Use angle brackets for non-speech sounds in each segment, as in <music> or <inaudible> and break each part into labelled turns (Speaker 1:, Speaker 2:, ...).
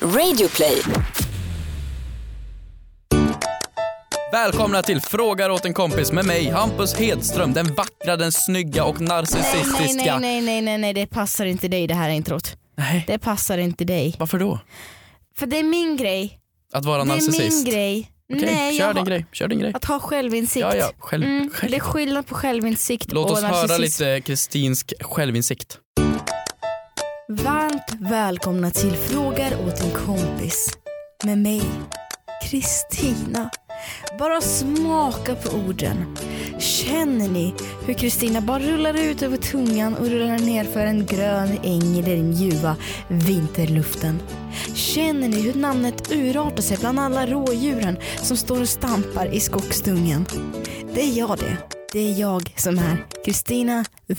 Speaker 1: Radioplay.
Speaker 2: Välkomna till Frågar åt en kompis med mig, Hampus Hedström. Den vackra, den snygga och
Speaker 3: Nej, nej,
Speaker 2: narcissistiska.
Speaker 3: nej, nej, nej, nej, det passar inte dig det här introt.
Speaker 2: Nej,
Speaker 3: Det passar inte dig.
Speaker 2: varför då?
Speaker 3: För det är min grej.
Speaker 2: Att vara
Speaker 3: Det är min
Speaker 2: narcissist?
Speaker 3: grej.
Speaker 2: Okej,
Speaker 3: nej,
Speaker 2: kör
Speaker 3: jag
Speaker 2: din
Speaker 3: har,
Speaker 2: grej. Kör din grej.
Speaker 3: att ha självinsikt.
Speaker 2: Ja, ja, själv,
Speaker 3: Mm,
Speaker 2: själv.
Speaker 3: Det är skillnad på självinsikt
Speaker 2: Låt
Speaker 3: och
Speaker 2: oss höra
Speaker 3: narcissism.
Speaker 2: lite Kristinsk självinsikt.
Speaker 3: Varmt välkomna till Frågar åt en kompis med mig, Kristina. Bara smaka på orden. Känner ni hur Kristina bara rullar ut över tungan och rullar ner för en grön äng i den ljuva vinterluften? Känner ni hur namnet urartar sig bland alla rådjuren som står och stampar i skogsdungen? Det är jag det. Det är jag som är Kristina the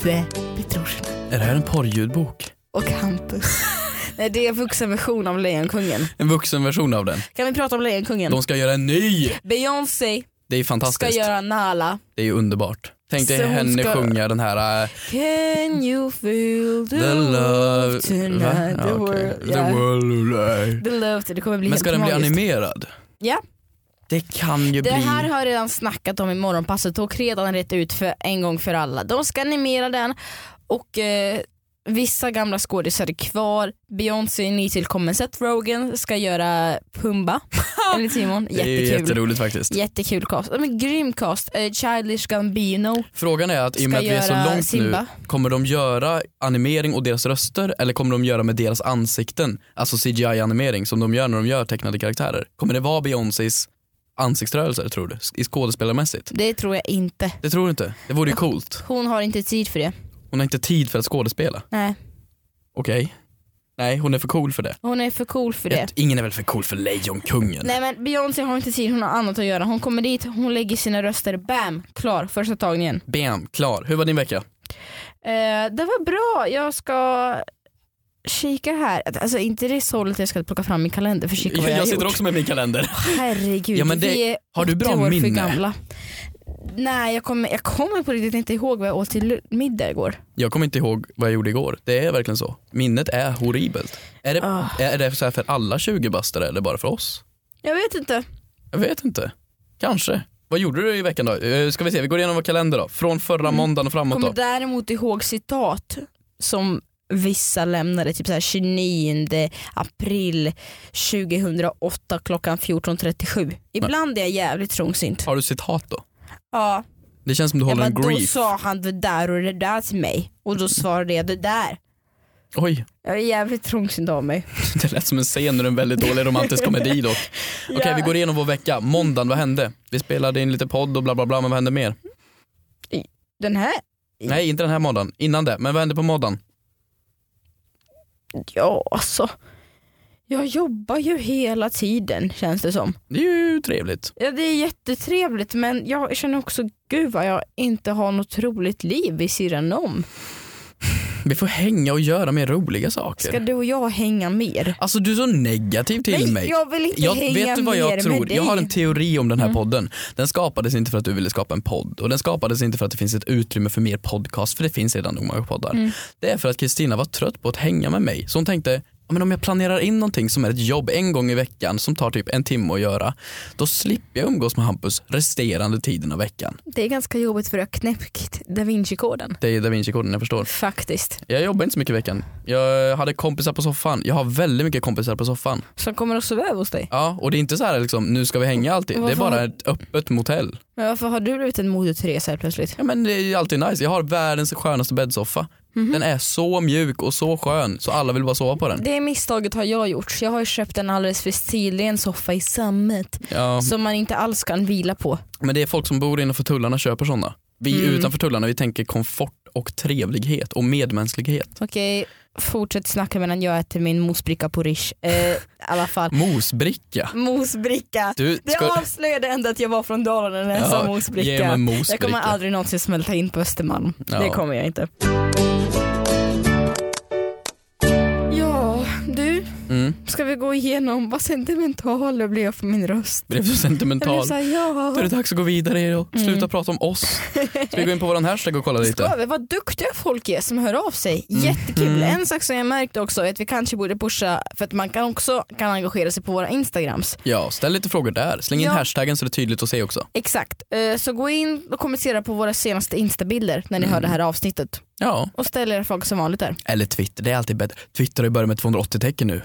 Speaker 3: Petrosina
Speaker 2: Är det här en porrljudbok?
Speaker 3: och Hampus. <laughs> Nej det är vuxenversion av Lejonkungen.
Speaker 2: En vuxenversion av den.
Speaker 3: Kan vi prata om Lejonkungen?
Speaker 2: De ska göra en ny!
Speaker 3: Beyoncé
Speaker 2: Det är
Speaker 3: ska
Speaker 2: fantastiskt.
Speaker 3: göra Nala.
Speaker 2: Det är ju underbart. Tänk dig
Speaker 3: Så hon
Speaker 2: henne
Speaker 3: ska-
Speaker 2: sjunga den här eh,
Speaker 3: Can you feel the,
Speaker 2: The love...
Speaker 3: tonight,
Speaker 2: Va? okej.
Speaker 3: the world,
Speaker 2: The
Speaker 3: yeah.
Speaker 2: world alive.
Speaker 3: The love, det kommer bli
Speaker 2: Men
Speaker 3: helt
Speaker 2: ska den bli
Speaker 3: magiskt.
Speaker 2: animerad?
Speaker 3: Ja.
Speaker 2: Det kan ju
Speaker 3: Det
Speaker 2: bli...
Speaker 3: här har jag redan snackat om i morgonpasset och redan rätt ut för en gång för alla. De ska animera den och eh, vissa gamla skådisar är kvar. Beyoncé är nytillkommen. Seth Rogen ska göra
Speaker 2: <laughs>
Speaker 3: Pumba. Eller Timon.
Speaker 2: Det är ju
Speaker 3: Jättekul.
Speaker 2: jätteroligt faktiskt.
Speaker 3: Jättekul cast. Ja, Men grym cast. Eh, Childish Gambino.
Speaker 2: Frågan är att i och med
Speaker 3: Ska
Speaker 2: att vi är så
Speaker 3: göra
Speaker 2: långt
Speaker 3: Simba.
Speaker 2: nu, kommer de göra animering och deras röster eller kommer de göra med deras ansikten? Alltså CGI-animering som de gör när de gör tecknade karaktärer. Kommer det vara Beyoncés ansiktsrörelser tror du? S- I skådespelarmässigt?
Speaker 3: Det tror jag inte.
Speaker 2: Det tror du inte? Det vore ju coolt.
Speaker 3: Hon har inte tid för det.
Speaker 2: Hon har inte tid för att skådespela.
Speaker 3: Nej,
Speaker 2: Okej. Nej, hon är för cool för det.
Speaker 3: hon är för cool för det.
Speaker 2: Jag- Ingen är väl för cool för Lejonkungen?
Speaker 3: Nej men Beyoncé har inte tid, hon har annat att göra. Hon kommer dit, hon lägger sina röster, bam, klar, första tagningen.
Speaker 2: Bam, klar. Hur var din vecka?
Speaker 3: Eh, det var bra, jag ska kika här. Alltså inte det är så lätt att jag ska plocka fram min kalender för att kika vad
Speaker 2: Jag,
Speaker 3: jag,
Speaker 2: jag
Speaker 3: har
Speaker 2: sitter
Speaker 3: gjort.
Speaker 2: också med min kalender.
Speaker 3: Herregud,
Speaker 2: Ja, men det-
Speaker 3: vi är
Speaker 2: har du
Speaker 3: 80
Speaker 2: bra
Speaker 3: år
Speaker 2: minne?
Speaker 3: för gamla. Nej jag kommer, jag kommer på riktigt inte ihåg vad jag åt till middag igår.
Speaker 2: Jag kommer inte ihåg vad jag gjorde igår. Det är verkligen så. Minnet är horribelt. Är det,
Speaker 3: Ah.
Speaker 2: är det så här för alla 20-bastare eller bara för oss?
Speaker 3: Jag vet inte.
Speaker 2: Jag vet inte. Kanske. Vad gjorde du i veckan då? Eh, Ska vi se, vi går igenom vår kalender då. Från förra måndagen och framåt
Speaker 3: Mm. kommer
Speaker 2: då.
Speaker 3: däremot ihåg citat som vissa lämnade typ så här 29 april 2008 klockan 14.37. Ibland är jag jävligt trångsynt.
Speaker 2: Har du citat då?
Speaker 3: Ja,
Speaker 2: Det känns som du
Speaker 3: jag
Speaker 2: håller
Speaker 3: bara,
Speaker 2: en
Speaker 3: då
Speaker 2: grief. Mm.
Speaker 3: sa han det där och det där till mig och då svarade jag det där.
Speaker 2: Oj, <laughs>
Speaker 3: Jag är jävligt trångsynt av mig.
Speaker 2: det lät som en scen ur en väldigt dålig romantisk komedi
Speaker 3: <laughs>
Speaker 2: dock. Okej, vi går igenom vår vecka. Måndagen, vad hände? Vi spelade in lite podd och bla bla bla, men vad hände mer?
Speaker 3: Mm. Den här,
Speaker 2: Nej, inte den här måndagen. Innan det. Men vad hände på måndagen?
Speaker 3: ja alltså. Jag jobbar ju hela tiden känns det som.
Speaker 2: Det är ju trevligt.
Speaker 3: Ja, det är jättetrevligt men jag känner också gud vad jag inte har något roligt liv vid sidan om.
Speaker 2: Vi får hänga och göra mer roliga saker.
Speaker 3: Ska du och jag hänga mer?
Speaker 2: Alltså du är så negativ till
Speaker 3: Nej,
Speaker 2: mig.
Speaker 3: jag vill inte
Speaker 2: Jag-
Speaker 3: hänga
Speaker 2: vet du vad jag
Speaker 3: mer med
Speaker 2: tror?
Speaker 3: dig. Mm.
Speaker 2: Jag har en teori om den här podden. Den skapades inte för att du ville skapa en podd och den skapades inte för att det finns ett utrymme för mer podcast för det finns redan nog många poddar.
Speaker 3: Mm.
Speaker 2: Det är för att Kristina var trött på att hänga med mig så hon tänkte "Ja, men om jag planerar in någonting som är ett jobb en gång i veckan som tar typ en timme att göra då slipper jag umgås med Hampus resterande tiden av veckan.
Speaker 3: Det är ganska jobbigt för jag har knäckt da Vinci-koden.
Speaker 2: Det är da Vinci-koden jag förstår.
Speaker 3: Faktiskt.
Speaker 2: Jag jobbar inte så mycket i veckan. Jag hade kompisar på soffan. Jag har väldigt mycket kompisar på soffan.
Speaker 3: Som kommer att sova över hos dig.
Speaker 2: Ja, och det är inte så här liksom, nu ska vi hänga alltid. Det är
Speaker 3: Varför
Speaker 2: bara
Speaker 3: har-
Speaker 2: ett öppet motell.
Speaker 3: Men varför har du blivit en Moder Teresa helt plötsligt?
Speaker 2: Ja men det är ju alltid nice. Jag har världens skönaste bäddsoffa.
Speaker 3: Mhm.
Speaker 2: Den är så mjuk och så skön så alla vill bara sova på den.
Speaker 3: Det misstaget har jag gjort. Jag har ju köpt en alldeles för stilig soffa i sammet
Speaker 2: Ja,
Speaker 3: som man inte alls kan vila på.
Speaker 2: men det är folk som bor innanför tullarna köper sådana. Vi
Speaker 3: Mm.
Speaker 2: utanför tullarna vi tänker komfort och trevlighet och medmänsklighet.
Speaker 3: Okej, fortsätt snacka medan jag äter min mosbricka på Rish. Eh, I alla fall.
Speaker 2: Mosbricka.
Speaker 3: Mosbricka.
Speaker 2: Du,
Speaker 3: Det avslöjade ändå att jag var från Dalarna när jag
Speaker 2: Ja,
Speaker 3: sa
Speaker 2: ge mig
Speaker 3: mosbricka.
Speaker 2: en
Speaker 3: Jag
Speaker 2: mosbricka.
Speaker 3: kommer aldrig någonsin smälta in på Östermalm.
Speaker 2: Ja.
Speaker 3: Det kommer jag inte. Ja, du.
Speaker 2: Mm. Mm.
Speaker 3: Ska vi gå igenom vad sentimental jag blev för min röst?
Speaker 2: Blev så
Speaker 3: Jag blev
Speaker 2: sentimental.
Speaker 3: såhär, ja.
Speaker 2: Då är det dags att gå vidare och sluta
Speaker 3: Mm.
Speaker 2: prata om oss. Ska vi gå in
Speaker 3: <laughs>
Speaker 2: på våran hashtag och kolla lite? Mm.
Speaker 3: Ska vi? Vad duktiga folk är som hör av sig. Jättekul. En sak som jag märkte också är att vi kanske borde pusha för att man kan också kan engagera sig på våra instagrams.
Speaker 2: Ja, ställ lite frågor där. Släng in
Speaker 3: Ja.
Speaker 2: hashtaggen så det är tydligt att se också.
Speaker 3: Exakt. Eh, Så gå in och kommentera på våra senaste instabilder när ni
Speaker 2: Mm.
Speaker 3: hör det här avsnittet.
Speaker 2: Ja,
Speaker 3: Och ställ era frågor som vanligt där.
Speaker 2: eller Twitter. Det är alltid bättre. Twitter har ju börjat med 280 tecken nu.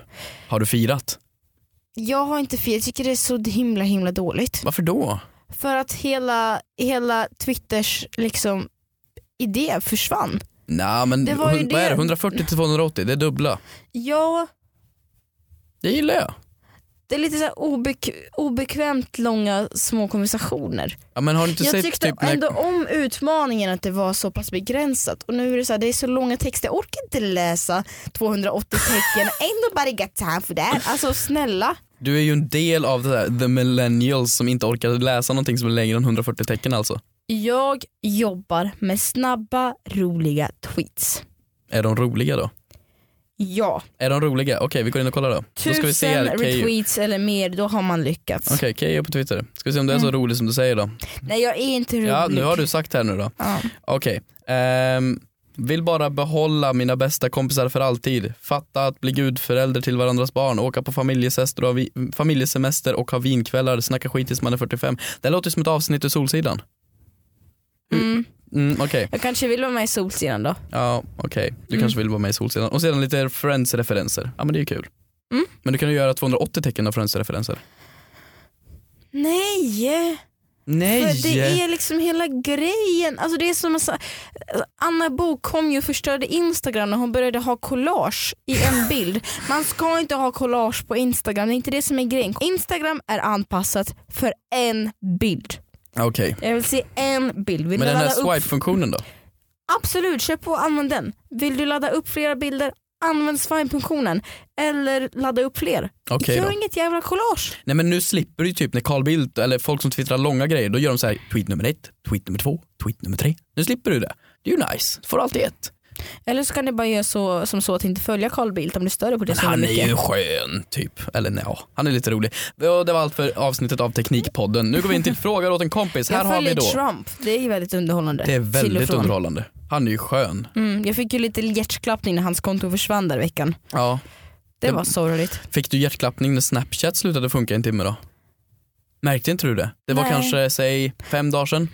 Speaker 2: Har du firat?
Speaker 3: Jag har inte fel, jag tycker det är så himla himla dåligt.
Speaker 2: Varför då?
Speaker 3: För att hela, hela Twitters liksom idé försvann.
Speaker 2: Nej men
Speaker 3: Det var ju
Speaker 2: hun- vad är
Speaker 3: det.
Speaker 2: det? 140 till 280, det är dubbla.
Speaker 3: Ja,
Speaker 2: Det gillar jag.
Speaker 3: det är lite så här obek- obekvämt långa små konversationer.
Speaker 2: Ja, men har du inte
Speaker 3: Jag
Speaker 2: sett
Speaker 3: tyckte
Speaker 2: typ när...
Speaker 3: ändå om utmaningen att det var så pass begränsat och nu är det så här, det är så långa texter, jag orkar inte läsa 280 tecken, <laughs> ain't nobody got time for that. Alltså snälla.
Speaker 2: Du är ju en del av det där, the millennials som inte orkar läsa någonting som är längre än 140 tecken alltså.
Speaker 3: Jag jobbar med snabba, roliga tweets.
Speaker 2: Är de roliga då?
Speaker 3: Ja,
Speaker 2: Är de roliga? Okej vi går in och kollar då. Då ska vi se
Speaker 3: tusen
Speaker 2: här, Keyyo.
Speaker 3: retweets eller mer, då har man lyckats.
Speaker 2: Okej, Keyyo på Twitter. Ska vi se om det är så
Speaker 3: Mm.
Speaker 2: roligt som du säger då.
Speaker 3: Nej jag är inte rolig.
Speaker 2: Ja, nu har du sagt här nu då.
Speaker 3: Ja.
Speaker 2: Okej. ehm, vill bara behålla mina bästa kompisar för alltid. Fatta att bli gudförälder till varandras barn. Åka på familjesemester och, ha vi- familjesemester och ha vinkvällar. Snacka skit tills man är 45. Det låter som ett avsnitt ur Solsidan.
Speaker 3: Mm.
Speaker 2: Mm, okej.
Speaker 3: Jag kanske vill vara med i Solsidan då.
Speaker 2: Ja, okej. Du kanske vill vara med i Solsidan. Och sedan lite Friends-referenser. Ja, men det är ju kul.
Speaker 3: Mm.
Speaker 2: Men du kan ju göra 280 tecken av Friends-referenser.
Speaker 3: Nej!
Speaker 2: Nej!
Speaker 3: För det är liksom hela grejen. Alltså det är som en sån- Anna Bok kom ju och förstörde Instagram när hon började ha collage i
Speaker 2: <laughs>
Speaker 3: en bild. Man ska inte ha collage på Instagram, det är inte det som är grejen. Instagram är anpassat för en bild.
Speaker 2: Okej.
Speaker 3: Jag vill se en bild. Vill
Speaker 2: Men
Speaker 3: du
Speaker 2: den här
Speaker 3: ladda upp?
Speaker 2: swipe-funktionen då?
Speaker 3: Absolut, köp och använd den. Vill du ladda upp flera bilder, använd swipe-funktionen. Eller ladda upp fler.
Speaker 2: Okej
Speaker 3: Gör
Speaker 2: då.
Speaker 3: inget jävla collage.
Speaker 2: Nej men nu slipper du ju typ när Carl Bildt eller folk som twittrar långa grejer, då gör de så här tweet nummer ett, tweet nummer två, tweet nummer tre. Nu slipper du det. Det är ju nice, du får alltid ett.
Speaker 3: Eller så kan du bara göra så, som så att inte följa Carl Bildt om du stör dig på det
Speaker 2: Men
Speaker 3: så
Speaker 2: han
Speaker 3: mycket.
Speaker 2: är ju skön typ, eller nja, han är lite rolig. Och det var allt för avsnittet av Teknikpodden. Nu går vi in till <laughs> frågor åt en kompis, här
Speaker 3: Jag
Speaker 2: har vi
Speaker 3: följer
Speaker 2: då.
Speaker 3: Trump, det är ju väldigt underhållande.
Speaker 2: Det är
Speaker 3: Till och
Speaker 2: väldigt
Speaker 3: från.
Speaker 2: underhållande. Han är ju skön.
Speaker 3: Mm, jag fick ju lite hjärtklappning när hans konto försvann där i veckan.
Speaker 2: Ja.
Speaker 3: Det
Speaker 2: Det-
Speaker 3: var sorgligt.
Speaker 2: Fick du hjärtklappning när Snapchat slutade funka i en timme då? Märkte inte du det? Det var
Speaker 3: Nej. Mhm.
Speaker 2: kanske säg fem dagar sedan.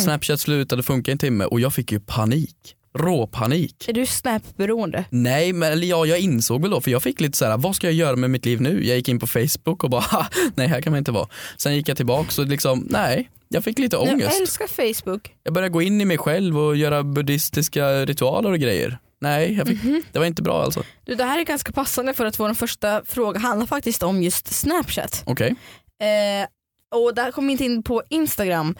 Speaker 2: Snapchat slutade funka i en timme och jag fick ju panik. Råpanik.
Speaker 3: Är du snap-beroende?
Speaker 2: Nej, men eller ja, jag insåg väl då, för jag fick lite så här, vad ska jag göra med mitt liv nu? Jag gick in på Facebook och bara, <laughs> "Ha, nej här kan man inte vara. Sen gick jag tillbaka och liksom, nej, jag fick lite
Speaker 3: Jag
Speaker 2: ångest.
Speaker 3: älskar Facebook.
Speaker 2: Jag började gå in i mig själv och göra buddhistiska ritualer och grejer. Nej, jag fick,
Speaker 3: Mhm.
Speaker 2: det var inte bra alltså.
Speaker 3: Du, det här är ganska passande för att vår första fråga handlar faktiskt om just Snapchat.
Speaker 2: Okej,
Speaker 3: Eh, och där kom vi inte in på Instagram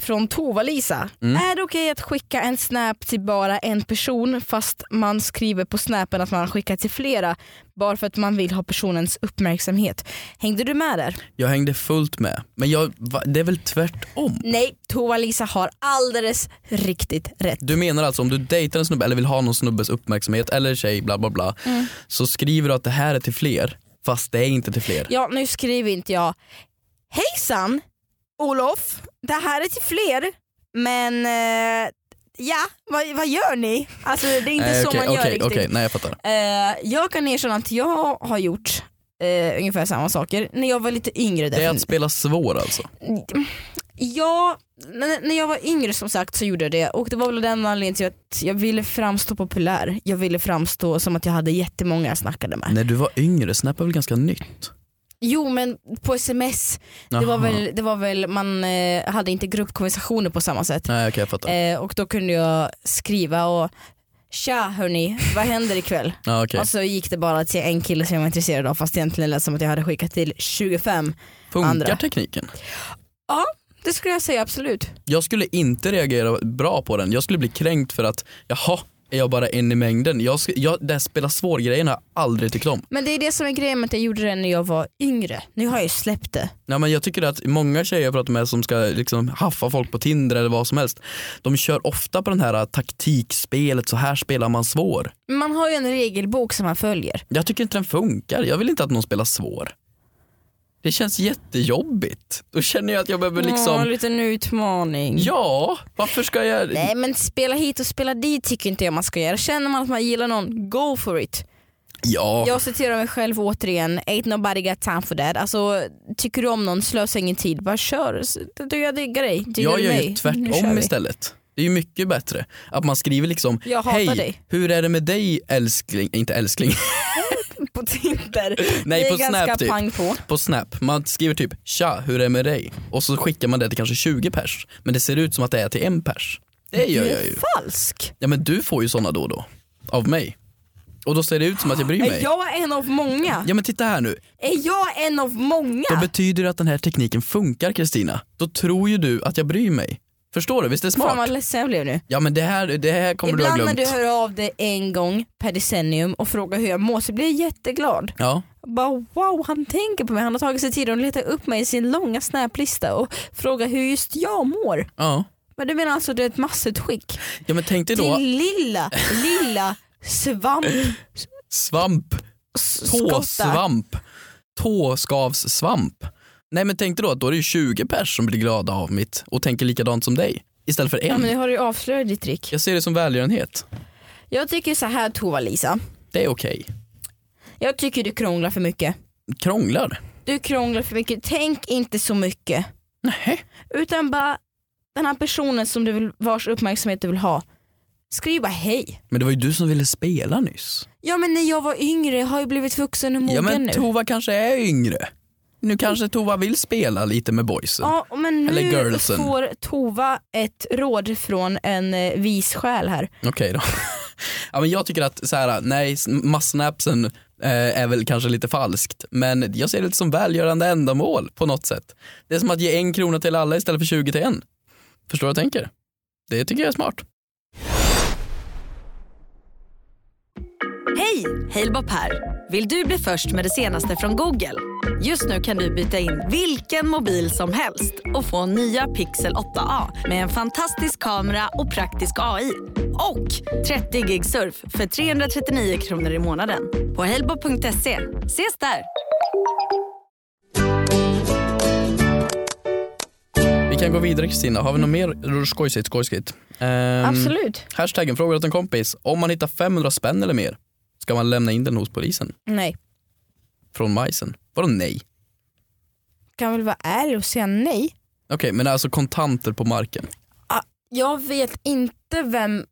Speaker 3: från Tova-Lisa.
Speaker 2: Mm.
Speaker 3: Är det okej att skicka en snap till bara en person fast man skriver på snapen att man har skickat till flera bara för att man vill ha personens uppmärksamhet? Hängde du med där?
Speaker 2: jag hängde fullt med. Men jag, va, det är väl tvärtom?
Speaker 3: Nej, Tova-Lisa har alldeles riktigt rätt.
Speaker 2: Du menar alltså om du dejtar en snubbe eller vill ha någon snubbes uppmärksamhet eller tjej bla bla bla
Speaker 3: Mm.
Speaker 2: så skriver du att det här är till fler fast det är inte till fler.
Speaker 3: Ja, nu skriver inte jag Hejsan Olof, det här är till fler men eh, ja, vad, vad gör ni? Alltså det är inte
Speaker 2: Nej, Eh,
Speaker 3: så
Speaker 2: okej,
Speaker 3: man gör
Speaker 2: okej,
Speaker 3: riktigt.
Speaker 2: Okej, nej jag fattar.
Speaker 3: Eh, jag kan erkänna att jag har gjort eh, ungefär samma saker när jag var lite yngre.
Speaker 2: Det är
Speaker 3: Därför-
Speaker 2: att spela svår alltså.
Speaker 3: Ja, n- när jag var yngre som sagt så gjorde jag det och det var väl den anledningen till att jag ville framstå populär. Jag ville framstå som att jag hade jättemånga jag snackade med.
Speaker 2: När du var yngre, Snap var väl ganska nytt?
Speaker 3: Jo men på sms, det var,
Speaker 2: Jaha.
Speaker 3: väl, det var väl, man eh, hade inte gruppkonversationer på samma sätt.
Speaker 2: Nej okej jag fattar.
Speaker 3: Eh, och då kunde jag skriva och Tja hörni, vad händer ikväll?
Speaker 2: ja, <laughs> okej.
Speaker 3: Och så gick det bara till en kille som jag var intresserad av fast egentligen lät det som att jag hade skickat till 25.
Speaker 2: Funkar
Speaker 3: andra.
Speaker 2: tekniken?
Speaker 3: Det skulle jag säga absolut.
Speaker 2: Jag skulle inte reagera bra på den, jag skulle bli kränkt för att jaha, är jag bara en i mängden. Jag, ska- jag, det här spela svår-grejen har jag aldrig tyckt om.
Speaker 3: Men det är det som är grejen med att jag gjorde det när jag var yngre. Nu har jag ju släppt det.
Speaker 2: Ja, men jag tycker att många tjejer jag pratar med som ska liksom haffa folk på Tinder eller vad som helst, de kör ofta på den här äh, taktikspelet, så här spelar man svår.
Speaker 3: Men man har ju en regelbok som man följer.
Speaker 2: Jag tycker inte den funkar, jag vill inte att någon spelar svår. Det känns jättejobbigt. Då känner jag att jag behöver
Speaker 3: Åh, en
Speaker 2: liksom,
Speaker 3: liten utmaning.
Speaker 2: ja, varför ska jag?
Speaker 3: Nej men spela hit och spela dit tycker inte jag man ska göra. Känner man att man gillar någon, go for it.
Speaker 2: Ja,
Speaker 3: Jag citerar mig själv återigen, ain't nobody got time for that. Alltså, tycker du om någon, slösa ingen tid, bara kör. S- Du, jag diggar dig, diggar
Speaker 2: jag
Speaker 3: du
Speaker 2: gör
Speaker 3: mig?
Speaker 2: ju
Speaker 3: Nu kör
Speaker 2: tvärtom
Speaker 3: vi.
Speaker 2: istället. Det är ju mycket bättre att man skriver liksom,
Speaker 3: Jag hatar
Speaker 2: hej,
Speaker 3: dig.
Speaker 2: hur är det med dig älskling, inte älskling,
Speaker 3: På Tinder.
Speaker 2: <laughs> Nej,
Speaker 3: det är
Speaker 2: på Snap,
Speaker 3: ganska
Speaker 2: typ.
Speaker 3: pang på.
Speaker 2: på Snap. Man skriver typ “tja, hur är det med dig?” och så skickar man det till kanske 20 pers. Men det ser ut som att det är till en pers. Det gör
Speaker 3: Du
Speaker 2: jag
Speaker 3: är
Speaker 2: ju.
Speaker 3: falsk.
Speaker 2: Ja men du får ju såna då och då. Av mig. Och då ser det ut som att jag bryr
Speaker 3: Är
Speaker 2: mig.
Speaker 3: jag en av många?
Speaker 2: Ja men titta här nu.
Speaker 3: Är jag en av många?
Speaker 2: Då betyder det att den här tekniken funkar Kristina. Då tror ju du att jag bryr mig. Förstår du? Visst är det
Speaker 3: Fan
Speaker 2: smart?
Speaker 3: vad ledsen jag blev nu.
Speaker 2: Ja men det här, det här kommer
Speaker 3: Ibland
Speaker 2: du ha
Speaker 3: när du
Speaker 2: glömt.
Speaker 3: hör av dig en gång per decennium och frågar hur jag mår så blir jag jätteglad.
Speaker 2: Ja.
Speaker 3: Bara wow, han tänker på mig. Han har tagit sig tid att leta upp mig i sin långa snäplista och fråga hur just jag mår.
Speaker 2: Ja.
Speaker 3: Men du menar alltså det är ett massutskick?
Speaker 2: ja men tänk dig då
Speaker 3: Din lilla, lilla svamp.
Speaker 2: svamp,
Speaker 3: s- skotta.
Speaker 2: tåsvamp, tåskavssvamp. Nej men tänk dig då att då är det ju 20 pers som blir glada av mitt och tänker likadant som dig. Istället för en.
Speaker 3: Ja men nu har du avslöjat ditt trick.
Speaker 2: Jag ser det som välgörenhet.
Speaker 3: Jag tycker så här Tova-Lisa.
Speaker 2: Det är okej.
Speaker 3: Jag tycker du krånglar för mycket.
Speaker 2: Krånglar.
Speaker 3: Du krånglar för mycket. Tänk inte så mycket.
Speaker 2: Nej.
Speaker 3: Utan bara den här personen som du vill, vars uppmärksamhet du vill ha. Skriv bara hej.
Speaker 2: Men det var ju du som ville spela nyss.
Speaker 3: Ja men när jag var yngre har jag blivit vuxen och mogen
Speaker 2: ja men
Speaker 3: nu.
Speaker 2: Tova kanske är yngre. Nu kanske Tova vill spela lite med boysen.
Speaker 3: Ja men
Speaker 2: Eller
Speaker 3: nu
Speaker 2: girlsen.
Speaker 3: får Tova ett råd från en eh, vis själ här.
Speaker 2: Okej då. <laughs> ja, men jag tycker att så här, nej, massnapsen eh, är väl kanske lite falskt. Men jag ser det som välgörande ändamål på något sätt. Det är som att ge en krona till alla istället för 20 till en. Förstår du vad jag tänker? Det tycker jag är smart.
Speaker 1: Hej! Halebop här. Vill du bli först med det senaste från Google? Just nu kan du byta in vilken mobil som helst och få nya Pixel 8A med en fantastisk kamera och praktisk AI. Och 30 gig surf för 339 kronor i månaden på halebop.se. Ses där!
Speaker 2: Vi kan gå vidare Kristina, har vi något mer skojsigt skojsigt?
Speaker 3: Mm.
Speaker 2: Ehm,
Speaker 3: Absolut.
Speaker 2: Hashtaggen frågar åt en kompis, om man hittar 500 spänn eller mer, ska man lämna in den hos polisen?
Speaker 3: Nej.
Speaker 2: Från Majsen. Vadå nej?
Speaker 3: Kan väl vara ärlig och säga nej.
Speaker 2: Okej, men alltså kontanter på marken.
Speaker 3: Jag vet inte vem,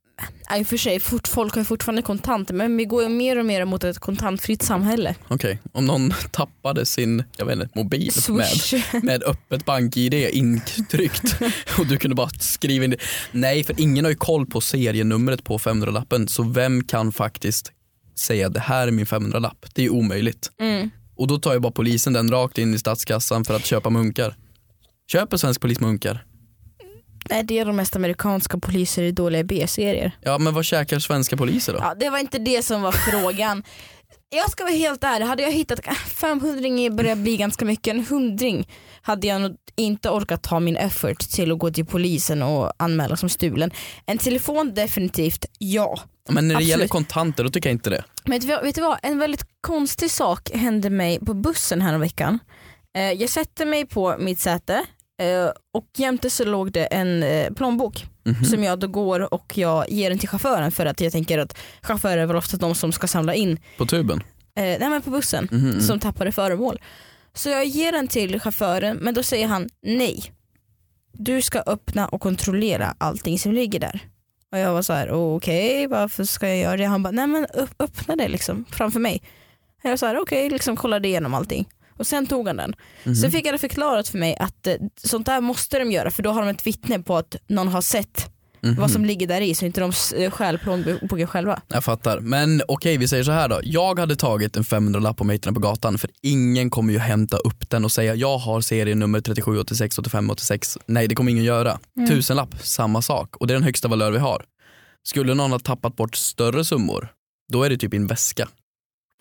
Speaker 3: ja, i och för sig fort, folk har ju fortfarande kontanter men vi går ju mer och mer mot ett kontantfritt samhälle.
Speaker 2: Okej, om någon <laughs> tappade sin, jag vet inte, mobil med,
Speaker 3: Swish.
Speaker 2: med öppet bank-id intryckt <laughs> och du kunde bara skriva in det. Nej, för ingen har ju koll på serienumret på 500-lappen, så vem kan faktiskt säga det här är min 500-lapp? Det är ju omöjligt.
Speaker 3: <laughs> Mm.
Speaker 2: Och då tar ju bara polisen den rakt in i statskassan för att köpa munkar. Köper svensk polis munkar?
Speaker 3: Nej det är de mest amerikanska poliser i dåliga B-serier.
Speaker 2: Ja men vad käkar svenska poliser då?
Speaker 3: Ja, det var inte det som var frågan. <laughs> Jag ska vara helt ärlig, hade jag hittat 500 börjar bli ganska mycket, en hundring hade jag nog inte orkat ta min effort till att gå till polisen och anmäla som stulen. En telefon definitivt ja.
Speaker 2: Men när det
Speaker 3: Absolut.
Speaker 2: gäller kontanter då tycker jag inte det.
Speaker 3: Men vet du vad- vet du vad, en väldigt konstig sak hände mig på bussen här om veckan. Eh, Jag sätter mig på mitt säte eh, och jämte så låg det en eh, plånbok
Speaker 2: Mhm.
Speaker 3: som jag då går och jag ger den till chauffören för att jag tänker att chaufförer är väl ofta de som ska samla in
Speaker 2: På tuben?
Speaker 3: eh, nej men på bussen
Speaker 2: Mhm.
Speaker 3: som tappade föremål. Så jag ger den till chauffören men då säger han nej. Du ska öppna och kontrollera allting som ligger där. Och jag var så här: okej varför ska jag göra det? Han bara, nej men öpp- öppna det liksom framför mig. Och Jag var så här: okej liksom kollade igenom allting. Och sen tog han den.
Speaker 2: Mhm.
Speaker 3: Sen fick jag det förklarat för mig att eh, sånt där måste de göra för då har de ett vittne på att någon har sett
Speaker 2: Mhm.
Speaker 3: vad som ligger där i så inte de s- eh, stjäl plånboken själva.
Speaker 2: Jag fattar. Men okej, vi säger så här då. Jag hade tagit en 500-lapp om jag hittade den på gatan för ingen kommer ju hämta upp den och säga jag har serienummer 37,
Speaker 3: Mm.
Speaker 2: 86, 85, 86. Nej, det kommer ingen göra. Tusenlapp, samma sak. Och det är den högsta valör vi har. Skulle någon ha tappat bort större summor, då är det typ i en väska.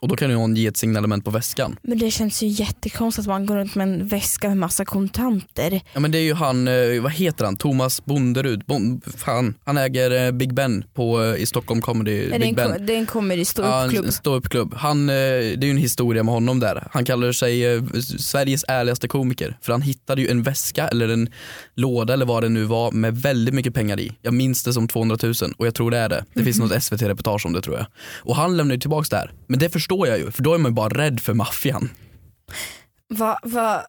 Speaker 2: Och då kan ju någon ge ett signalement på väskan.
Speaker 3: Men det känns ju jättekonstigt att man går runt med en väska med massa kontanter.
Speaker 2: Ja men det är ju han, eh, vad heter han, Thomas Bonderud, bon, fan, han äger eh, Big Ben på, eh, i Stockholm Comedy,
Speaker 3: Är det,
Speaker 2: Big
Speaker 3: en,
Speaker 2: Ben.
Speaker 3: ko- det är en comedy
Speaker 2: Ja, en
Speaker 3: ståuppklubb.
Speaker 2: ståuppklubb. Han, eh, det är ju en historia med honom där. Han kallar sig eh, Sveriges ärligaste komiker. För han hittade ju en väska eller en låda eller vad det nu var med väldigt mycket pengar i. Jag minns det som 200 000 och jag tror det är det. Det finns
Speaker 3: Mhm.
Speaker 2: något SVT-reportage om det tror jag. Och han lämnar ju tillbaks det här. Men det förstår jag ju för då är man ju bara rädd för maffian.
Speaker 3: Vad va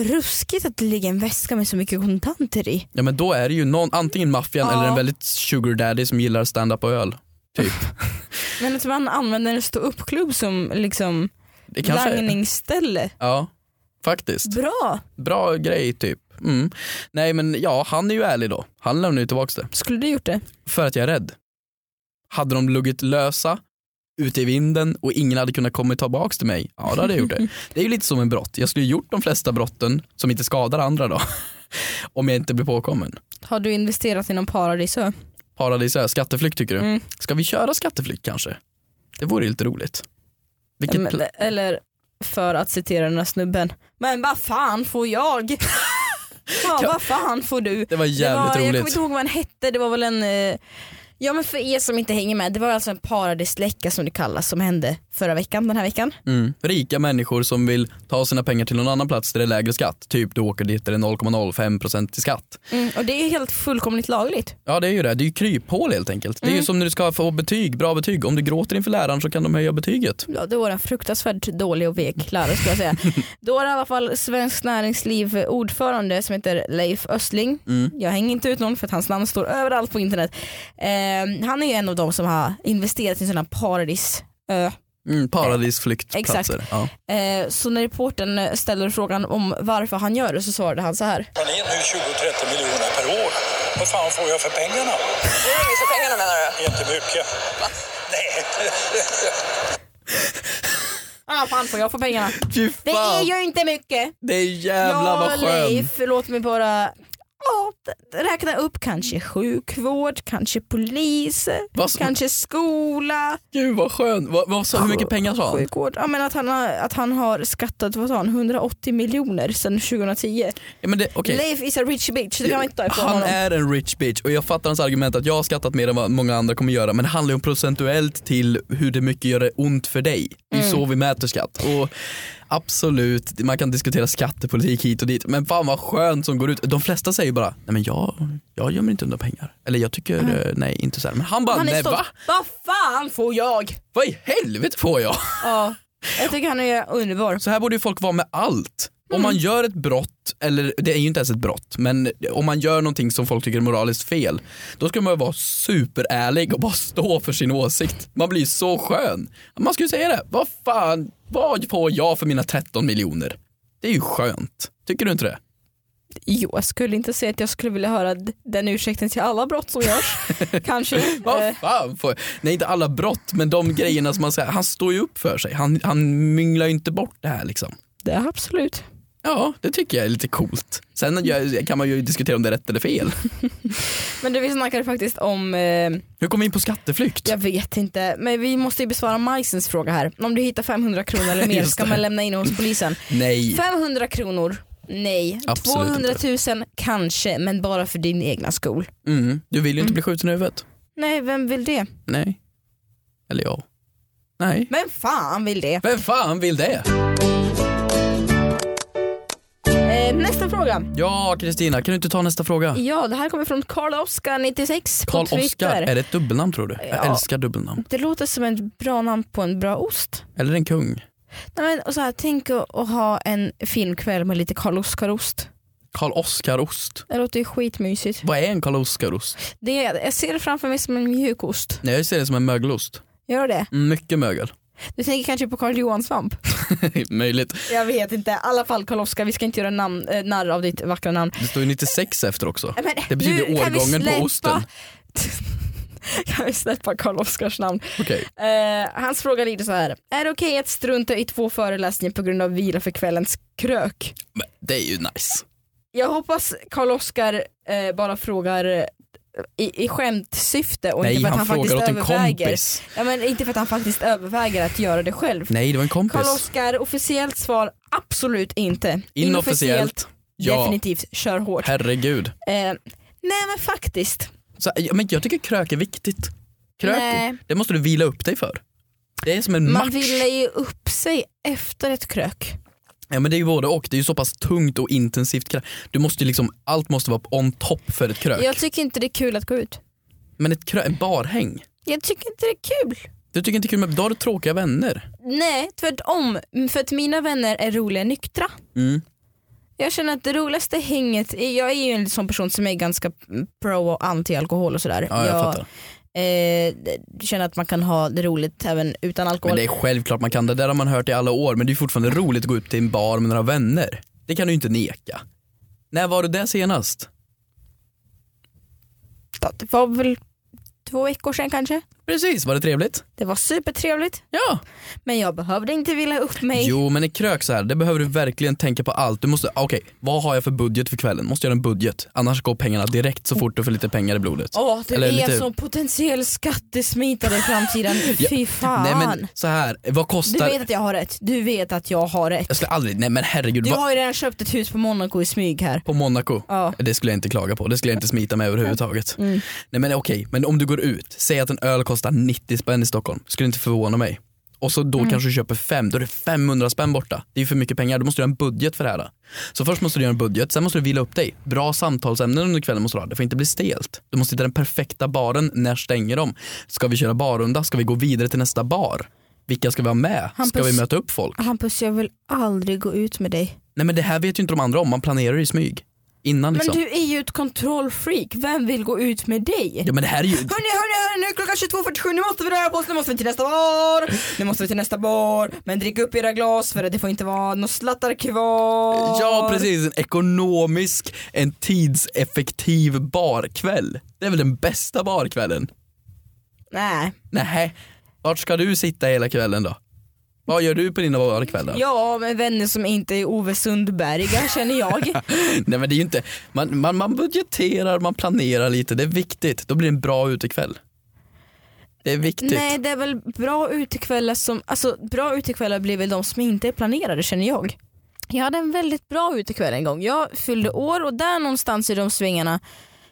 Speaker 3: ruskigt att det ligger en väska med så mycket kontanter i.
Speaker 2: Ja men då är det ju någon, antingen maffian
Speaker 3: Ja.
Speaker 2: eller en väldigt sugar daddy som gillar stand-up och öl. Typ.
Speaker 3: Men att man använder en ståuppklubb som liksom
Speaker 2: Det kanske är.
Speaker 3: langningsställe.
Speaker 2: Ja, faktiskt.
Speaker 3: Bra!
Speaker 2: Bra grej typ. Mm. Nej men ja, han är ju ärlig då. Han lämnar ju tillbaks det.
Speaker 3: Skulle du gjort det?
Speaker 2: För att jag är rädd. Hade de luggit lösa ute i vinden och ingen hade kunnat komma tillbaks till mig, ja då hade jag gjort
Speaker 3: <laughs>
Speaker 2: det. Det är ju lite som en brott. Jag skulle ju gjort de flesta brotten som inte skadar andra då. <laughs> Om jag inte blir påkommen.
Speaker 3: Har du investerat i någon paradisö?
Speaker 2: Paradisö, skatteflykt tycker du?
Speaker 3: Mm.
Speaker 2: Ska vi köra skatteflykt kanske? Det vore ju lite roligt. Vilket
Speaker 3: Men-
Speaker 2: pla-
Speaker 3: Eller för att citera den här snubben. Men vad fan
Speaker 2: <laughs>
Speaker 3: får jag? ja, vad fan får du?
Speaker 2: det var jävligt
Speaker 3: det var, Jag kommer
Speaker 2: roligt.
Speaker 3: inte ihåg vad den hette, det var väl en eh, Ja men för er som inte hänger med, det var alltså en paradisläcka som det kallas som hände förra veckan, den här veckan.
Speaker 2: Mm. Rika människor som vill ta sina pengar till någon annan plats där det är lägre skatt. Typ du åker dit där det är 0,05% i skatt.
Speaker 3: Mm, Och det är helt fullkomligt lagligt.
Speaker 2: Ja det är ju det, det är ju kryphål helt enkelt. Det är
Speaker 3: Mm.
Speaker 2: ju som när du ska få betyg, bra betyg. Om du gråter inför läraren så kan de höja betyget.
Speaker 3: Ja, det var en fruktansvärt dålig och vek lärare skulle jag säga. <laughs> Då var det i alla fall Svenskt Näringsliv ordförande som heter Leif Östling. Jag hänger inte ut någon för att hans namn står överallt på internet. Eh, han är ju en av de som har investerat i sådana paradis eh,
Speaker 2: Mm, paradisflyktplatser.
Speaker 3: Exakt.
Speaker 2: Ja.
Speaker 3: Eh, Så när reportern ställer frågan om varför han gör det så svarade han så här.
Speaker 4: tar in nu 20-30 miljoner per år. Vad fan får jag för pengarna?
Speaker 5: Det är inget för pengarna menar du?
Speaker 4: Inte mycket. Nej.
Speaker 3: Ah, fan får jag för pengarna?
Speaker 2: Fy
Speaker 3: Det är
Speaker 2: fan,
Speaker 3: ju inte mycket.
Speaker 2: det är jävlar vad skönt.
Speaker 3: Leif, låt mig bara ja, räkna upp kanske sjukvård, kanske polis,
Speaker 2: Vad som-
Speaker 3: kanske skola.
Speaker 2: Gud vad skönt. Vad, vad, sa- hur mycket pengar sa han?
Speaker 3: Sjukvård. Ja, men att, han har, att han har skattat vad sa han, 180 miljoner sedan 2010.
Speaker 2: Ja, men det, okej.
Speaker 3: Leif is a rich bitch, det kan man inte ta ifrån
Speaker 2: Han
Speaker 3: honom.
Speaker 2: är en rich bitch och jag fattar hans argument att jag har skattat mer än vad många andra kommer göra men det handlar ju om procentuellt till hur det mycket gör det ont för dig. Det är ju så vi mäter skatt. Och absolut, man kan diskutera skattepolitik hit och dit men fan vad skönt som går ut. De flesta säger bara, nej men jag, jag gömmer inte undan pengar. Eller jag tycker, eh, nej inte så här. Men han bara,
Speaker 3: Han är
Speaker 2: nej
Speaker 3: stolt.
Speaker 2: va?
Speaker 3: Vad fan får jag?
Speaker 2: Vad i helvete får jag?
Speaker 3: Ja, jag tycker han är underbar.
Speaker 2: Så här borde ju folk vara med allt. Om man gör ett brott, eller det är ju inte ens ett brott, men om man gör någonting som folk tycker är moraliskt fel, då ska man ju vara superärlig och bara stå för sin åsikt. Man blir så skön. Man skulle säga det, vad fan, vad får jag för mina 13 miljoner? Det är ju skönt. Tycker du inte det?
Speaker 3: Jo, jag skulle inte säga att jag skulle vilja höra d- den ursäkten till alla brott
Speaker 2: <laughs>
Speaker 3: som görs. Kanske. Eh,
Speaker 2: Vad fan får jag? Nej inte alla brott, men de grejerna som man säger, han står ju upp för sig. Han, han minglar ju inte bort det här liksom.
Speaker 3: det är absolut.
Speaker 2: Ja, det tycker jag är lite coolt. Sen gör- kan man ju diskutera om det är rätt eller fel.
Speaker 3: Men du, vi snackade faktiskt om, eh,
Speaker 2: Hur kom vi in på skatteflykt?
Speaker 3: jag vet inte, men vi måste ju besvara Majsens fråga här. Om du hittar 500
Speaker 2: <laughs>
Speaker 3: kronor eller mer
Speaker 2: Just
Speaker 3: ska
Speaker 2: det.
Speaker 3: man lämna in
Speaker 2: <clears throat>
Speaker 3: hos polisen.
Speaker 2: Nej.
Speaker 3: 500 kronor, nej.
Speaker 2: Absolut
Speaker 3: 200 000 kanske, men bara för din egna skol.
Speaker 2: Mm. Du vill ju inte bli skjuten i huvudet.
Speaker 3: Nej, vem vill det?
Speaker 2: Nej. Eller jag. Nej.
Speaker 3: Vem fan vill det?
Speaker 2: Vem fan vill det?
Speaker 3: Eh, nästa fråga.
Speaker 2: Ja, Kristina, kan du inte ta nästa fråga?
Speaker 3: Ja, det här kommer från Karl Oskar 96
Speaker 2: Karl
Speaker 3: på Twitter.
Speaker 2: Oskar, är det ett dubbelnamn tror du? Jag
Speaker 3: Ja.
Speaker 2: älskar dubbelnamn.
Speaker 3: Det låter som ett bra namn på en bra ost.
Speaker 2: Eller en kung.
Speaker 3: Nej, men, och så här, tänk att, att ha en filmkväll med lite Karl Oskar-ost.
Speaker 2: Karl Oskar-ost.
Speaker 3: Det låter ju skitmysigt.
Speaker 2: Vad är en Karl Oskar-ost?
Speaker 3: Det, är- jag ser det framför mig som en mjukost.
Speaker 2: Nej, jag ser det som en mögelost.
Speaker 3: Gör det?
Speaker 2: Mm, Mycket mögel. <laughs>
Speaker 3: Du tänker kanske på Karl Johan Svamp?
Speaker 2: Möjligt.
Speaker 3: Jag vet inte. I alla fall Karl Oskar, vi ska inte göra namn, eh, narr av ditt vackra namn.
Speaker 2: Det står ju 96 efter också.
Speaker 3: Nej, Men,
Speaker 2: Det betyder
Speaker 3: nu kan vi
Speaker 2: årgången på
Speaker 3: släppa-
Speaker 2: osten.
Speaker 3: <laughs> kan vi släppa Karl Oskars namn?
Speaker 2: Okej.
Speaker 3: Eh, hans fråga lyder så här. Är det okej att strunta i två föreläsningar på grund av vila för kvällens krök?
Speaker 2: Men Det är ju nice.
Speaker 3: Jag hoppas Karl Oskar eh, bara frågar i, i skämtsyfte och
Speaker 2: Nej,
Speaker 3: inte för att
Speaker 2: han
Speaker 3: han, faktiskt
Speaker 2: frågar åt en
Speaker 3: överväger.
Speaker 2: kompis.
Speaker 3: Ja, men inte för att han faktiskt överväger att göra det själv.
Speaker 2: Nej, det var en
Speaker 3: Karl
Speaker 2: kompis.
Speaker 3: Oskar, officiellt svar absolut inte.
Speaker 2: Inofficiellt, ja.
Speaker 3: definitivt kör hårt.
Speaker 2: Herregud.
Speaker 3: Eh, nej men faktiskt.
Speaker 2: Så, ja, men jag tycker krök är viktigt. Krök,
Speaker 3: Nej.
Speaker 2: det måste du vila upp dig för. Det är som en
Speaker 3: Man
Speaker 2: match.
Speaker 3: ville ju upp sig efter ett krök.
Speaker 2: Ja, men det är ju både och, det är ju så pass tungt och intensivt. krök. Du måste ju liksom, allt måste vara on top för ett krök.
Speaker 3: Jag tycker inte det är kul att gå ut.
Speaker 2: Men ett krök, en barhäng.
Speaker 3: Jag tycker inte det är kul.
Speaker 2: Du tycker inte kul med, då har du tråkiga vänner.
Speaker 3: Nej, tvärtom. För att mina vänner är roliga nyktra.
Speaker 2: Mm.
Speaker 3: Jag känner att det roligaste hänget, är- jag är ju en sån person som är ganska pro och anti-alkohol och sådär.
Speaker 2: Ja, jag fattar.
Speaker 3: eh, känner att man kan ha det roligt även utan
Speaker 2: Men
Speaker 3: alkohol.
Speaker 2: det är självklart man kan, det där har man hört i alla år men det är fortfarande roligt att gå upp till en bar med några vänner. Det kan du ju inte neka. När var du där senast?
Speaker 3: Det var väl två veckor sedan kanske.
Speaker 2: Precis, var det trevligt?
Speaker 3: Det var supertrevligt
Speaker 2: Ja.
Speaker 3: men jag behövde inte vila upp mig.
Speaker 2: Jo men i krök så här, det behöver du verkligen tänka på allt. Du måste, okej, vad har jag för budget för kvällen? Måste jag göra en budget? Annars går pengarna direkt så fort du får lite pengar i blodet.
Speaker 3: Åh, du
Speaker 2: Eller
Speaker 3: är
Speaker 2: lite-
Speaker 3: som potentiell skattesmitare
Speaker 2: <laughs>
Speaker 3: i framtiden. Fy fan.
Speaker 2: Nej men så här, vad
Speaker 3: Du
Speaker 2: kostar...
Speaker 3: vet att jag har rätt. Du vet att jag har rätt.
Speaker 2: Jag skulle aldrig, nej men herregud.
Speaker 3: Du
Speaker 2: vad-
Speaker 3: har ju redan köpt ett hus på Monaco i smyg här.
Speaker 2: På Monaco?
Speaker 3: Ja. Mm.
Speaker 2: Det skulle jag inte klaga på, det skulle jag inte smita med överhuvudtaget. Nej men okej, men om du går ut, säg att en öl kostar 90 spänn i Stockholm, skulle inte förvåna mig. Och så
Speaker 3: Mm.
Speaker 2: då kanske du köper fem, då är det 500 spänn borta. Det är ju för mycket pengar, då måste du ha en budget för det här. Så först måste du göra en budget, sen måste du vila upp dig. Bra samtalsämnen under kvällen måste du ha, det får inte bli stelt. Du måste hitta den perfekta baren, när stänger de? Ska vi köra barrunda? Ska vi gå vidare till nästa bar? Vilka ska vi ha med? Ska vi
Speaker 3: Hampus-
Speaker 2: möta upp folk?
Speaker 3: Hampus jag vill aldrig gå ut med dig.
Speaker 2: Nej men det här vet ju inte de andra om, man planerar i smyg. Innan
Speaker 3: Men
Speaker 2: liksom.
Speaker 3: du är ju ett kontrollfreak, vem vill gå ut med dig?
Speaker 2: Ja men det här är ju,
Speaker 3: Hörni, hörni, hörni, nu är klockan 22.47, nu måste vi röra på oss, nu måste vi till nästa bar, nu måste vi till nästa bar, men drick upp era glas för att det får inte vara några slattar kvar.
Speaker 2: Ja precis, en ekonomisk, en tidseffektiv barkväll. Det är väl den bästa barkvällen?
Speaker 3: Nej.
Speaker 2: Nej. vart ska du sitta hela kvällen då? Vad gör du på dina barkvällar?
Speaker 3: Ja, men vänner som inte är Ove Sundberga känner
Speaker 2: <laughs>
Speaker 3: jag.
Speaker 2: Nej men det är ju inte, man, man, man budgeterar, man planerar lite, det är viktigt. Då blir det en bra utekväll. Det är viktigt.
Speaker 3: Nej, det är väl bra utekvällar som, alltså bra utekvällar blir väl de som inte är planerade känner jag. Jag hade en väldigt bra utekväll en gång. Jag fyllde år och där någonstans i de svängarna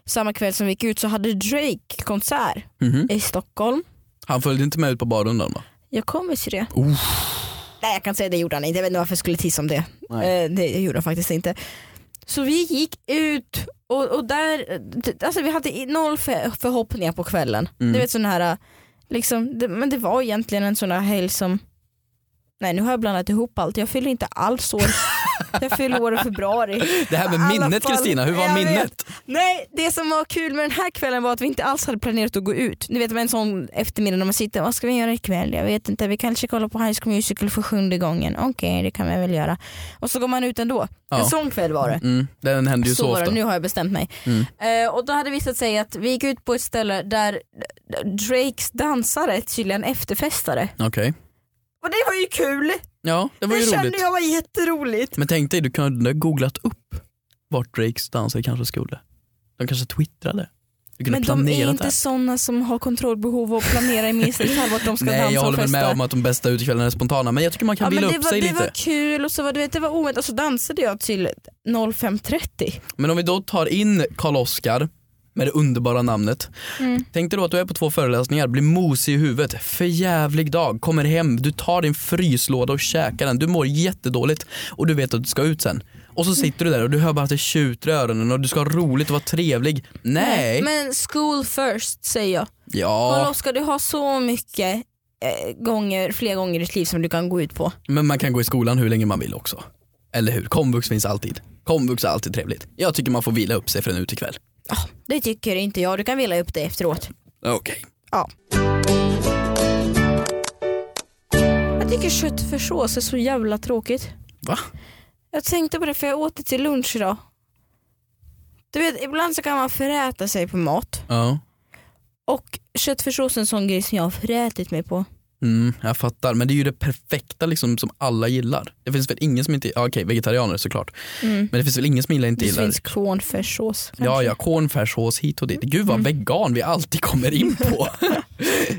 Speaker 3: samma kväll som vi gick ut så hade Drake konsert
Speaker 2: Mhm.
Speaker 3: i Stockholm.
Speaker 2: Han följde inte med ut på barrundan då?
Speaker 3: Jag kommer till det. Nej jag kan säga det gjorde han inte, jag vet inte varför jag skulle tissa om det.
Speaker 2: Nej.
Speaker 3: Eh, det gjorde han faktiskt inte. Så vi gick ut och, och där, alltså vi hade i- noll för, förhoppningar på kvällen.
Speaker 2: Mm.
Speaker 3: Du vet sån här, liksom, det, men det var egentligen en sån här helg som, nej nu har jag blandat ihop allt, jag fyller inte alls år. jag fyller år i februari.
Speaker 2: Det här
Speaker 3: I
Speaker 2: med
Speaker 3: alla
Speaker 2: minnet
Speaker 3: fall,
Speaker 2: Kristina, hur var
Speaker 3: jag
Speaker 2: minnet?
Speaker 3: Nej, det som var kul med den här kvällen var att vi inte alls hade planerat att gå ut. Ni vet med en sån eftermiddag när man sitter, vad ska vi göra ikväll? Jag vet inte, vi kanske kollar på High School Musical för sjunde gången. Okej, det kan vi väl göra. Och så går man ut ändå.
Speaker 2: Ja.
Speaker 3: En sån kväll var det.
Speaker 2: Mm, den händer ju så,
Speaker 3: var det,
Speaker 2: ofta. Mm.
Speaker 3: nu har jag bestämt mig. Eh, och då hade det visat sig att vi gick ut på ett ställe där Drakes dansare tydligen efterfestade.
Speaker 2: Okej.
Speaker 3: Och det var ju kul!
Speaker 2: Ja, det var
Speaker 3: Det
Speaker 2: ju roligt.
Speaker 3: kände jag var jätteroligt.
Speaker 2: Men tänk dig, du kunde ha googlat upp vart Drakes dansare kanske skulle. De kanske twittrade. Du kunde
Speaker 3: Men
Speaker 2: ha
Speaker 3: de
Speaker 2: planerat
Speaker 3: är
Speaker 2: det
Speaker 3: inte
Speaker 2: här.
Speaker 3: sådana som har kontrollbehov och planerar i minsta detalj vart de ska dansa
Speaker 2: Nej jag håller
Speaker 3: och
Speaker 2: väl
Speaker 3: festa.
Speaker 2: med om att de bästa utekvällarna är spontana men jag tycker man kan vila
Speaker 3: men det
Speaker 2: upp
Speaker 3: var,
Speaker 2: sig
Speaker 3: det
Speaker 2: lite.
Speaker 3: var kul och så var, du vet, det var oväntat och så dansade jag till 05.30.
Speaker 2: Men om vi då tar in Karl Oskar med det underbara namnet.
Speaker 3: Mm.
Speaker 2: Tänk dig då att du är på två föreläsningar, blir mosig i huvudet, förjävlig dag, kommer hem, du tar din fryslåda och käkar den, du mår jättedåligt och du vet att du ska ut sen. Och så sitter du där och du hör bara att det tjuter i öronen och du ska ha roligt och vara trevlig. Nej!
Speaker 3: Men school first säger jag.
Speaker 2: ja.
Speaker 3: Karl Oskar du har så mycket eh, gånger, fler gånger i ditt liv som du kan gå ut på.
Speaker 2: Men man kan gå i skolan hur länge man vill också. Eller hur? Komvux finns alltid. Komvux är alltid trevligt. Jag tycker man får vila upp sig för en utekväll.
Speaker 3: Ah, det tycker inte jag, du kan vila upp det efteråt.
Speaker 2: Okej.
Speaker 3: Ja. Jag tycker köttfärssås är så jävla tråkigt.
Speaker 2: Va?
Speaker 3: Jag tänkte på det för jag åt det till lunch idag. Du vet ibland så kan man föräta sig på mat
Speaker 2: Ja.
Speaker 3: och köttfärssås är en sån grej som jag har förätit mig på.
Speaker 2: Mm, jag fattar, men det är ju det perfekta liksom, som alla gillar. Det finns väl ingen som inte, ja, okej vegetarianer såklart, men det finns väl ingen som gillar- inte
Speaker 3: Mm. Det
Speaker 2: gillar
Speaker 3: finns cornfärssås.
Speaker 2: Ja, ja, cornfärssås hit och dit. Gud
Speaker 3: Mm.
Speaker 2: vad vegan vi alltid kommer in
Speaker 3: <laughs>
Speaker 2: på.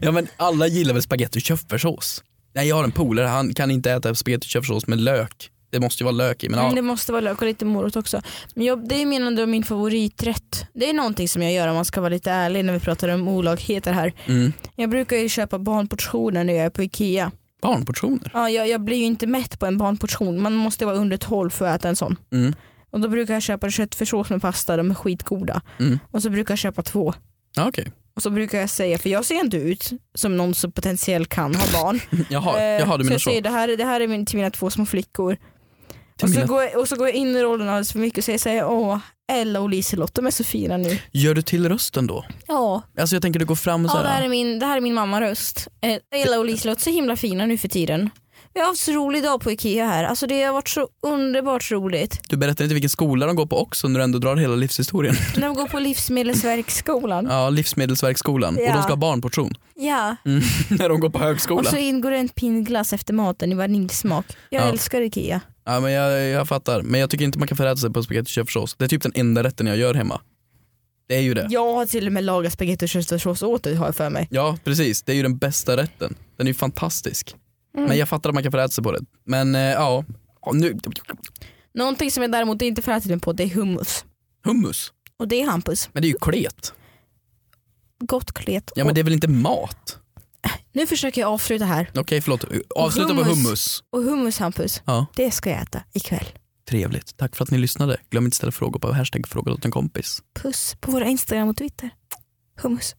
Speaker 2: ja men alla gillar väl spagetti och köttfärssås? Nej jag har en polare, han kan inte äta spagetti och köttfärssås med lök. Det måste ju vara lök i men
Speaker 3: Men
Speaker 2: ja.
Speaker 3: det måste vara lök och lite morot också. Men jag, det är min, ändå min favoriträtt. Det är någonting som jag gör om man ska vara lite ärlig när vi pratar om olagheter här.
Speaker 2: Mm.
Speaker 3: Jag brukar ju köpa barnportioner när jag är på Ikea.
Speaker 2: Barnportioner.
Speaker 3: Ja, jag, jag blir ju inte mätt på en barnportion. Man måste vara under 12 för att äta en sån.
Speaker 2: Mm.
Speaker 3: Och då brukar jag köpa köttfärssås med pasta, de är skitgoda.
Speaker 2: Mm.
Speaker 3: Och så brukar jag köpa två.
Speaker 2: Ja, okej.
Speaker 3: Och så brukar jag säga, för jag ser inte ut som någon som potentiellt kan
Speaker 2: <laughs>
Speaker 3: ha barn.
Speaker 2: Jaha,
Speaker 3: Eh,
Speaker 2: jaha du
Speaker 3: så
Speaker 2: menar
Speaker 3: jag
Speaker 2: så.
Speaker 3: säger det här, det här är min, till mina två små flickor.
Speaker 2: Till
Speaker 3: Och så,
Speaker 2: mina-
Speaker 3: går jag, och så går jag in i rollen alldeles för mycket och säger, säger åh Ella och Liselott, de är så fina nu.
Speaker 2: Gör du till rösten då?
Speaker 3: Ja,
Speaker 2: Alltså jag tänker du går fram och
Speaker 3: ja det, här
Speaker 2: såhär.
Speaker 3: är min, det här är min mammaröst. Eh, Ella och Liselott, så himla fina nu för tiden. Vi har haft så rolig dag på Ikea här, alltså det har varit så underbart roligt.
Speaker 2: Du berättar inte vilken skola de går på också när du ändå drar hela
Speaker 3: <laughs>
Speaker 2: livshistorien.
Speaker 3: När vi går på Livsmedelsverksskolan.
Speaker 2: Ja, Livsmedelsverksskolan och
Speaker 3: Ja.
Speaker 2: de ska ha barnportion <laughs>
Speaker 3: Ja,
Speaker 2: Mm. när de går på
Speaker 3: och
Speaker 2: högskolan.
Speaker 3: så ingår det en pinglas efter maten i vaniljsmak. Jag
Speaker 2: Ja.
Speaker 3: älskar Ikea.
Speaker 2: Ja, men jag, jag fattar, men jag tycker inte man kan föräta sig på spagetti och köttfärssås. Det är typ den enda rätten jag gör hemma. Det är ju det.
Speaker 3: Jag har till och med lagat spagetti och köttfärssås åt dig har jag för mig.
Speaker 2: Ja precis, det är ju den bästa rätten. Den är ju fantastisk.
Speaker 3: Mm.
Speaker 2: Men jag fattar att man kan föräta sig på det. Men eh, ja, Ja, nu,
Speaker 3: Någonting som jag däremot inte får ätit mig på det är hummus.
Speaker 2: hummus.
Speaker 3: Och det är Hampus.
Speaker 2: Men det är ju klet.
Speaker 3: Gott klet.
Speaker 2: Ja men det är väl inte mat?
Speaker 3: Nu försöker jag avsluta här.
Speaker 2: Okej förlåt, avsluta med
Speaker 3: Hummus.
Speaker 2: hummus.
Speaker 3: Och hummus Hampus,
Speaker 2: Ja.
Speaker 3: det ska jag äta ikväll.
Speaker 2: Trevligt, tack för att ni lyssnade. Glöm inte ställa frågor på hashtag fråga åt en kompis.
Speaker 3: Puss på våra Instagram och Twitter. Hummus.